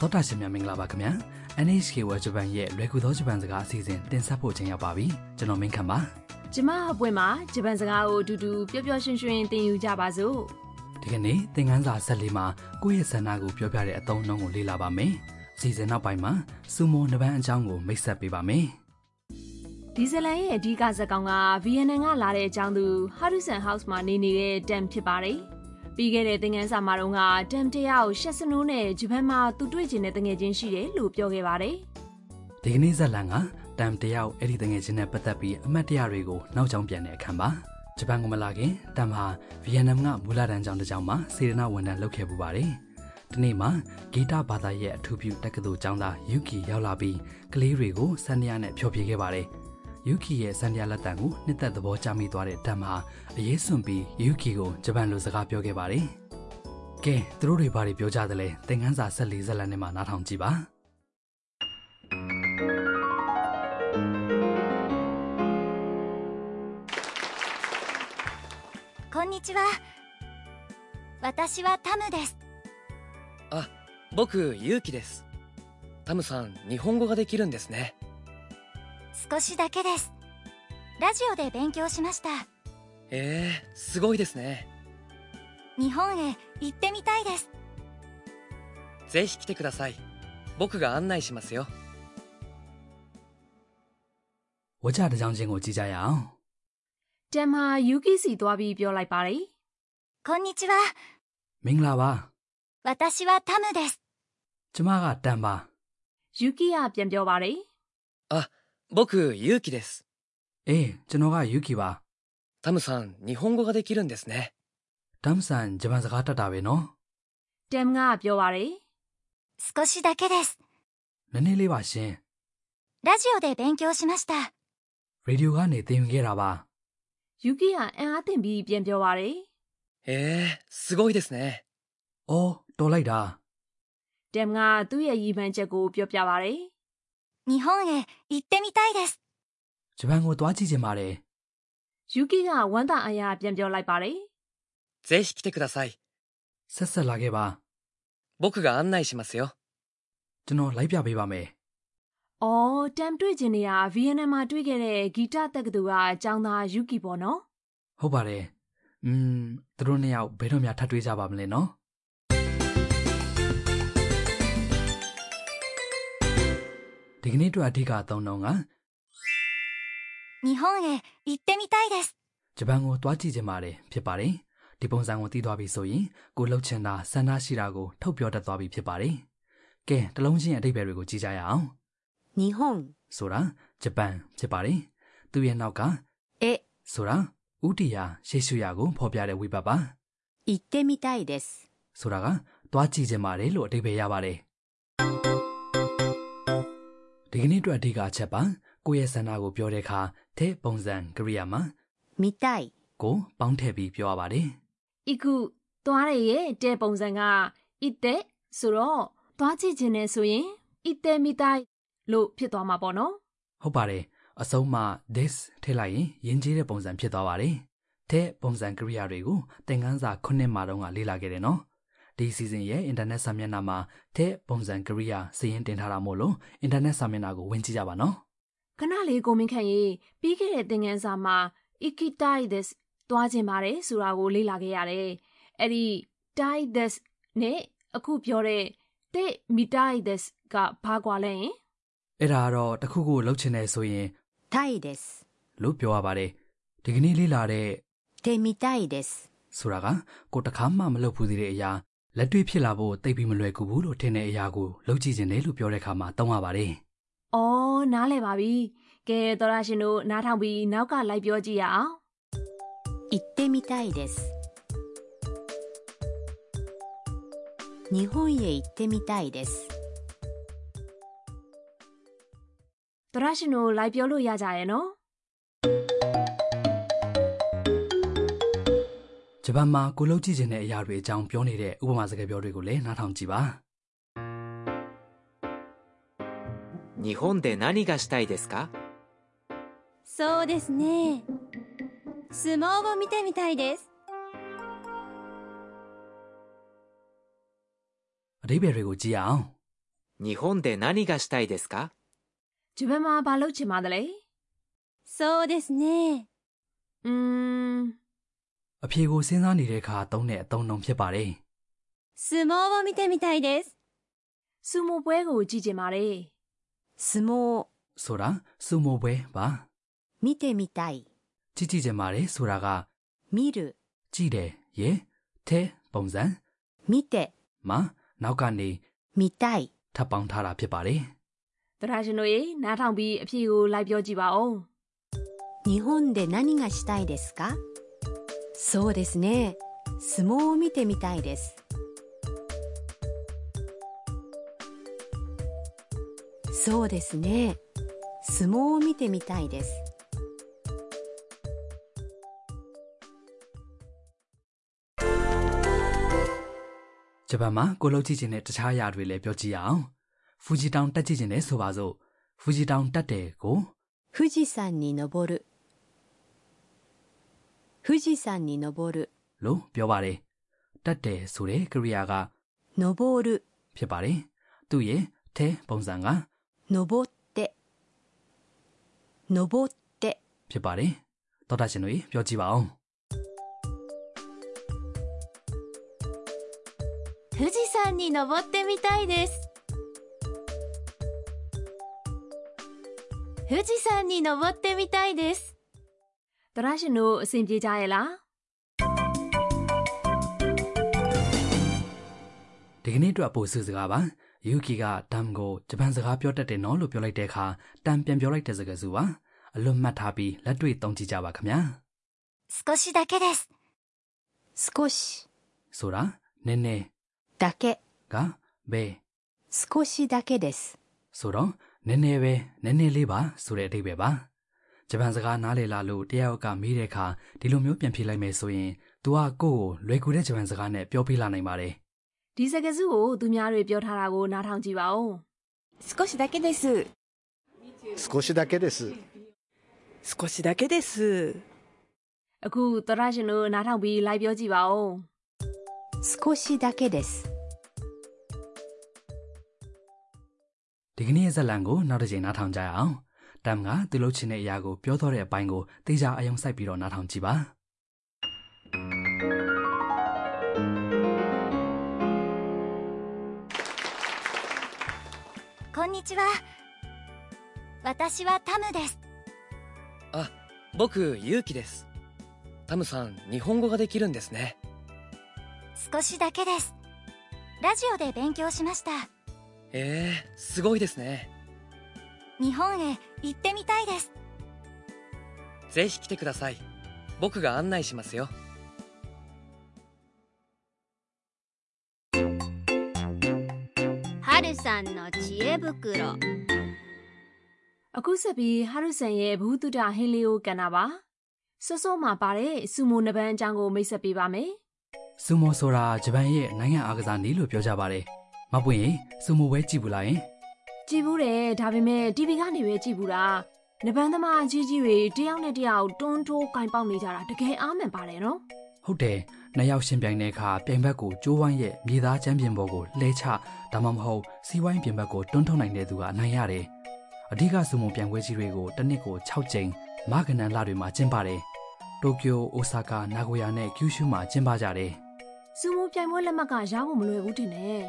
တော်တာရှင်များမင်္ဂလာပါခင်ဗျာ NHK World Japan ရဲ့လွယ်ကူသောဂျပန်စကားအစီအစဉ်တင်ဆက်ဖို့အချိန်ရောက်ပါပြီကျွန်တော်မင်းခမ်းပါ ကျမအပွင့်မှာဂျပန်စကားကိုအတူတူပျော်ပျော်ရွှင်ရွှင်သင်ယူကြပါစို့ ဒီကနေ့သင်ခန်းစာ14မှာကိုယ့်ရဲ့ဆန္ဒကိုပြောပြတဲ့အသုံးအနှုန်းကိုလေ့လာပါမယ်အစီအစဉ်နောက်ပိုင်းမှာစူမိုနှစ်ပန်းအကြောင်းကိုမိတ်ဆက်ပေးပါမယ် ဒီဇလန်ရဲ့အဓိကဇာတ်ကောင်ကဗီယက်နမ်ကလာတဲ့အကြောင်းသူဟာရူဆန်ဟောက်စ်မှာနေနေတဲ့တမ်ဖြစ်ပါတယ်ပြီးခဲ့တဲ့သင်ခန်းစာမှာတော့ကတမ်တရားကိုရှက်စနိုးနဲ့ဂျပန်မှာသူတွေ့ကျင်တဲ့တငယ်ချင်းရှိတယ်လို့ပြောခဲ့ပါတယ် ဒီကနေ့ဇက်လန်ကတမ်တယောက်အဲ့ဒီတငယ်ချင်းနဲ့ပတ်သက်ပြီးအမှတ်တရတွေကိုနောက်ကျောင်းပြန်တဲ့အခါမှာဂျပန်ကိုမလာခင်တမ်ဟာဗီယက်နမ်ကမူလတန်းကျောင်းတစ်ကျောင်းမှာစေတနာဝန်ထမ်းလုပ်ခဲ့ပူပါတယ်ဒီနေ့မှာဂီတဘာသာရဲ့အထူးပြုတက္ကသိုလ်ကျောင်းသားယူကီရောက်လာပြီးကလေးတွေကိုဆန်နီယာနဲ့ဖျော်ဖြေခဲ့ပါတယ် ယူကီရဲ့စန်တရားလက်တံကိုနှစ်သက်သဘောကျမိသွားတဲ့ဓာတ်မှာအရေးစွန်ပြီးယူကီကိုဂျပန်လိုစကားပြောခဲ့ပါတယ်။ကဲသူတို့တွေဘာတွေပြောကြသလဲသင်ခန်းစာ14ဇာတ်လမ်းထဲမှာနားထောင်ကြည့်ပါ こんにちは私はタムです僕ゆうきですタムさん日本語ができるんですね少しだけですラジオで勉強しましたえー、すごいですね日本へ行ってみたいですぜひ来てください僕が案内しますよ ။ဝါကြတစ်ကြောင်ချင်းကိုကြည့်ကြရအောင် တမ်ဟာယူကီစီသွားပြီးပြောလိုက်ပါတယ် こんにちは ။မင်္ဂလာပါ 私はタムです ။ကျမကတမ်ပါ ယူကီကပြန်ပြောပါတယ် あ僕ゆうきです ။အေးကျွန်တော်ကယူကီပါ タムさん日本語ができるんですね ။ဓာတ်ဆန်ဂျပန်စကားတတ်တာပဲနော် တမ်ကပြောပါတယ် 少しだけです ။နည်းနည်းလေးပါရှင် ラジオで勉強しました ။ရေဒီယိုကနေသင်ယူခဲ့တာပါ ယူကီကအံ့အားသင့်ပြီးပြန်ပြောပါတယ် えー、すごいですね ။အော်တော်လိုက်တာ တမ်ကသူ့ရဲ့ရည်မှန်းချက်ကိုပြောပြပါတယ် 日本へ行ってみたいです ။ဂျပန်ကိုသွားကြည့်ချင်ပါတယ် ယူကီကဝမ်းသာအားရပြန်ပြောလိုက်ပါတယ် ぜひ来てください ။ဆက်ဆက်လာခဲ့ပါ 僕が案内しますよ ။ကျွန်တော်လိုက်ပြပေးပါမယ် ။အော်တမ်တွေ့ကျင်နေတာဗီယက်နမ်မှာတွေ့ခဲ့တဲ့ဂီတတက္ကသိုလ်ကအကြောင်းသားယူကီပေါ့နော် ။ဟုတ်ပါတယ်။음သူတို့နှစ်ယောက်ဘယ်တော့မှထပ်တွေ့ကြပါမလဲနော်။ ။ဒီကနေ့အတွက်အဓိကအသုံးနှုန်းက 日本へ行ってみたいです ဂျပန်ကိုသွားကြည့်ခြင်းပါတယ်ဖြစ်ပါတယ်။ဒီပုံစံကိုသိသွားပြီဆိုရင်ကိုလှုပ်ချင်တာဆန္ဒရှိတာကိုထုတ်ပြောတတ်သွားပြီဖြစ်ပါတယ်။ကဲတစ်လုံးချင်းအဓိပ္ပာယ်တွေကိုကြည့်ကြရအောင် 日本 ။ဆိုတာဂျပန်ဖြစ်ပါတယ်။သူ့ရဲ့နောက်က へ ဆိုတာဥတီယာရှေရှုယာကိုဖော်ပြတဲ့ဝိပတ်ပါ 行ってみたいです ။ဆိုတာကသွားကြည့်ခြင်းပါတယ်လို့အဓိပ္ပာယ်ရပါတယ်။ဒီကနေ့အတွက်အဓိကအချက်ပါကိုယ့်ရဲ့ဆန္ဒကိုပြောတဲ့အခါတဲ့ပုံစံကရိယာမှာ 見たい ကိုပေါင်းထည့်ပြီးပြောရပါတယ် ။ဤခုသွားရရဲ့တဲ့ပုံစံကဤတဲ့ဆိုတော့သွားကြည့်ခြင်းနဲ့ဆိုရင်ဤတဲ့မိတိုင်းလို့ဖြစ်သွားမှာပေါ့နော် ။ဟုတ်ပါတယ်။အဆုံးမှာ this ထည့်လိုက်ရင်ယဉ်ကျေးတဲ့ပုံစံဖြစ်သွားပါတယ်။တဲ့ပုံစံကရိယာတွေကိုသင်ခန်းစာ9မှာတုန်းကလေ့လာခဲ့တယ်နော်။ဒီ season ရဲ့ internet စာမျက်နှာမှာတဲ့ပုံစံကရိယာစာရင်းတင်ထားတာမို့လို့ internet စာမျက်နှာကိုဝင်ကြည့်ကြပါနော် ။ခဏလေးကိုမင်းခန့်ရေးပြီးခဲ့တဲ့သင်ခန်းစာမှာ ikitai des သွားခြင်းပါတယ်ဆိုတာကိုလေ့လာခဲ့ရတယ်။အဲ့ဒီ tai des နဲ့အခုပြောတဲ့တဲ့မိတိုင်း des ကဘာကွာလဲယင် ။အဲ့ဒါကတော့တစ်ခုခုလှုပ်ချင်တယ်ဆိုရင် たいです လို့ပြောရပါတယ်။ဒီကနေ့လေ့လာတဲ့ てみたいです ဆိုတာကကိုယ်တစ်ခါမှမလုပ်ဘူးသေးတဲ့အရာလက်တွေ့ဖြစ်လာဖို့တိတ်ပြီးမလွယ်ကူဘူးလို့ထင်တဲ့အရာကိုလှုပ်ကြည့်ခြင်းတယ်လို့ပြောတဲ့အခါမှာသုံးရပါတယ်။ ဩနားလည်ပါပြီကဲတော်ရရှင်တို့နားထောင်ပြီးနောက်ကလိုက်ပြောကြည့်ရအောင် 行ってみたいです日本へ行ってみたいです တော်ရရှင်တို့လိုက်ပြောလို့ရကြရဲ့နော် ဂျပန်မှာကိုလှုပ်ကြည့်ခြင်းတဲ့အရာတွေအကြောင်းပြောနေတဲ့ဥပမာစကားပြောတွေကိုလည်းနားထောင်ကြည့်ပါ 日本で何がしたいですかそうですね相撲を見てみたいです အဓိပ္ပာယ်တွေကိုကြည့်ရအောင် 日本で何がしたいですか ဂျပန်မှာဘာလုပ်ချင်ပါသလဲ そうですね。 อืม အဖြေကိုစဉ်းစားနေတဲ့အခါသုံးတဲ့အသုံးအနှုန်းဖြစ်ပါတယ် 相撲を見てみたいです。 စူမိုပွဲကိုကြည့်ချင်ပါတယ် 相撲、 ဆိုတာစူမိုပွဲပါ 見てみたい、 ကြည့်ကြည့်ချင်ပါတယ်ဆိုတာက 見る、 ကြည့်တယ်ရေထဲပုံစံ 見て、 မှာနောက်ကနေ 見たい。 ထပ်ပေါင်းထားတာဖြစ်ပါတယ် တရားရှင်တို့ရေနားထောင်ပြီးအဖြေကိုလိုက်ပြောကြည့်ပါဦး 日本で何がしたいですかそうですね。相撲を見てみたいです。そうですね。相撲を見てみたいです。 ဂျပန်မှာကိုလုံးကြည့်ချင်တဲ့တခြားအရာတွေလည်းပြောကြည့်ရအောင်ဖူဂျီတောင်တက်ကြည့်ချင်တယ်ဆိုပါစို့ဖူဂျီတောင်တက်တယ်ကို 富士山に登る。富士山に登る。 လို့ပြောပါတယ်တက်တယ်ဆိုတဲ့ကရိယာက 登る。 ဖြစ်ပါတယ်သူ့ရဲ့ထဲပုံစံက 登って。登って。 ဖြစ်ပါတယ်တော်တာရှင်တို့ရေပြောကြည့်ပါအောင် 富士山に登ってみたいです。富士山に登ってみたいです。 တရားရှင်တို့အဆင်ပြေကြရဲ့လား ဒီကနေ့အတွက်ပို့စုစကားပါယူကီကတမ်ကိုဂျပန်စကားပြောတတ်တယ်နော်လို့ပြောလိုက်တဲ့အခါတမ်ပြန်ပြောလိုက်တဲ့စကားစုပါအလွတ်မှတ်ထားပြီးလက်တွေ့သုံးကြည့်ကြပါခင်ဗျာ 少しだけです。少し。 ဆိုတာနည်းနည်း だけ。 ကဘယ် 少しだけです。 ဆိုတော့နည်းနည်းပဲနည်းနည်းလေးပါဆိုတဲ့အဓိပ္ပာယ်ပါဂျပန်စကားနားလည်လာလို့တရားရောက်ကမေးတဲ့အခါဒီလိုမျိုးပြန်ဖြေလိုက်မယ်ဆိုရင် तू ကကိုယ့်ကိုလွယ်ကူတဲ့ဂျပန်စကားနဲ့ပြောပြလာနိုင်ပါတယ် ဒီစကားစုကိုသူများတွေပြောထားတာကိုနားထောင်ကြည့်ပါဦး 少しだけです少しだけです少しだけです အခုတရားရှင်တို့နားထောင်ပြီးလိုက်ပြောကြည့်ပါဦး 少しだけです。 ဒီကနေ့ရဲ့ဇာတ်လမ်းကိုနောက်တစ်ချိန်နားထောင်ကြရအောင်။တမ်ကသူလှုပ်ချင်တဲ့အရာကိုပြောတော့တဲ့အပိုင်းကိုသေချာအယုံစိုက်ပြီးတော့နားထောင်ကြည့်ပါ こんにちは。私はタムです。あ僕勇気ですタムさん日本語ができるんですね少しだけです。ラジオで勉強しました。えー、すごいですね日本へ行ってみたいです。ぜひ来てください僕が案内しますよはるさんの知恵袋。 အခုဆက်ပြီးဟာရုဆန်ရဲ့ဘူတုဒဟင်းလေးကိုကန်တာပါစောစောမှာပါတဲ့စူမိုနစ်ပန်းအကြောင်းကိုမိတ်ဆက်ပေးပါမယ် ။ဆူမိုဆိုတာဂျပန်ရဲ့နိုင်ငံအားကစားနည်းလို့ပြောကြပါတယ်။မပွင့်ရင်ဆူမိုပဲကြည့်ဘူးလားယင် ကြည့်ဘူးတယ်ဒါပေမဲ့ TV ကနေပဲကြည့်ဘူးတာနဘန်းသမားအကြီးကြီးတွေတယောက်နဲ့တယောက်တွန်းထိုးကင်ပေါက်နေကြတာတကယ်အားမှန်ပါတယ်နော် ။ဟုတ်တယ်။နှစ်ယောက်ရှင်ပြိုင်တဲ့အခါပြိုင်ဘက်ကိုကျိုးဝိုင်းရဲ့မြေသားချမ်းပြင်ပေါ်ကိုလှဲချဒါမှမဟုတ်စီးဝိုင်းပြင်ဘက်ကိုတွန်းထုတ်နိုင်တဲ့သူကအနိုင်ရတယ်။အဓိကဆူမိုပြိုင်ပွဲကြီးတွေကိုတစ်နှစ်ကို6ကြိမ်မကနန်လတွေမှာကျင်းပတယ်။တိုကျို၊အိုဆာကာ၊နာဂိုယာနဲ့ကျူရှူမှာကျင်းပကြတယ်။ စူမိုပြိုင်ပွဲလက်မှတ်ကရဖို့မလွယ်ဘူးတင်တယ်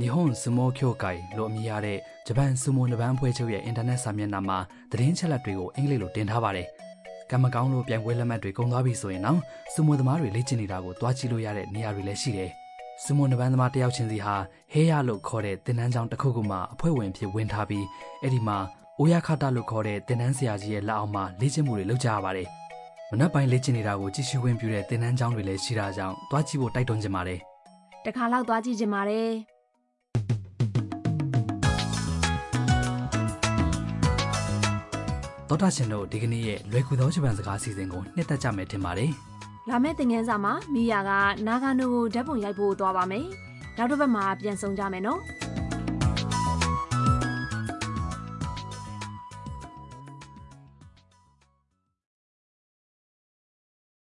日本相撲協会လို့အမည်ရတဲ့ဂျပန်ဆူမိုနစ်ပန်းအဖွဲ့ချုပ်ရဲ့အင်တာနက်စာမျက်နှာမှာသတင်းချက်လက်တွေကိုအင်္ဂလိပ်လိုတင်ထားပါတယ်။ကံမကောင်းလို့ပြိုင်ပွဲလက်မှတ်တွေကုန်သွားပြီဆိုရင်တော့ဆူမိုသမားတွေလေ့ကျင့်နေတာကိုသွားကြည့်လို့ရတဲ့နေရာတွေလည်းရှိတယ်။ဆူမိုနစ်ပန်းသမားတစ်ယောက်ချင်းစီဟာဟေးရလို့ခေါ်တဲ့သင်တန်းကျောင်းတစ်ခုခုမှာအဖွဲ့ဝင်ဖြစ်ဝင်ထားပြီးအဲ့ဒီမှာအိုယာခတာလို့ခေါ်တဲ့သင်တန်းဆရာကြီးရဲ့လက်အောက်မှာလေ့ကျင့်မှုတွေလုပ်ကြရပါတယ်။မနက်ပိုင်းလေ့ကျင့်နေတာကိုကြည့်ရှုခွင့်ပြုတဲ့သင်တန်းကျောင်းတွေလည်းရှိတာကြောင့်သွားကြည့်ဖို့တိုက်တွန်းချင်ပါတယ်။ တခါလောက်သွားကြည့်ချင်ပါတယ် တောတာရှင်တို့ဒီကနေ့ရဲ့လွယ်ကူသောဂျပန်စကားအစီအစဉ်ကိုနှစ်သက်ကြမယ်ထင်ပါတယ် လာမယ့်သင်ခန်းစာမှာမိယာကနာဂါနိုကိုဓာတ်ပုံရိုက်ဖို့သွားပါမယ်နောက်တစ်ပတ်မှာပြန်ဆောင်ကြမယ်နော် ။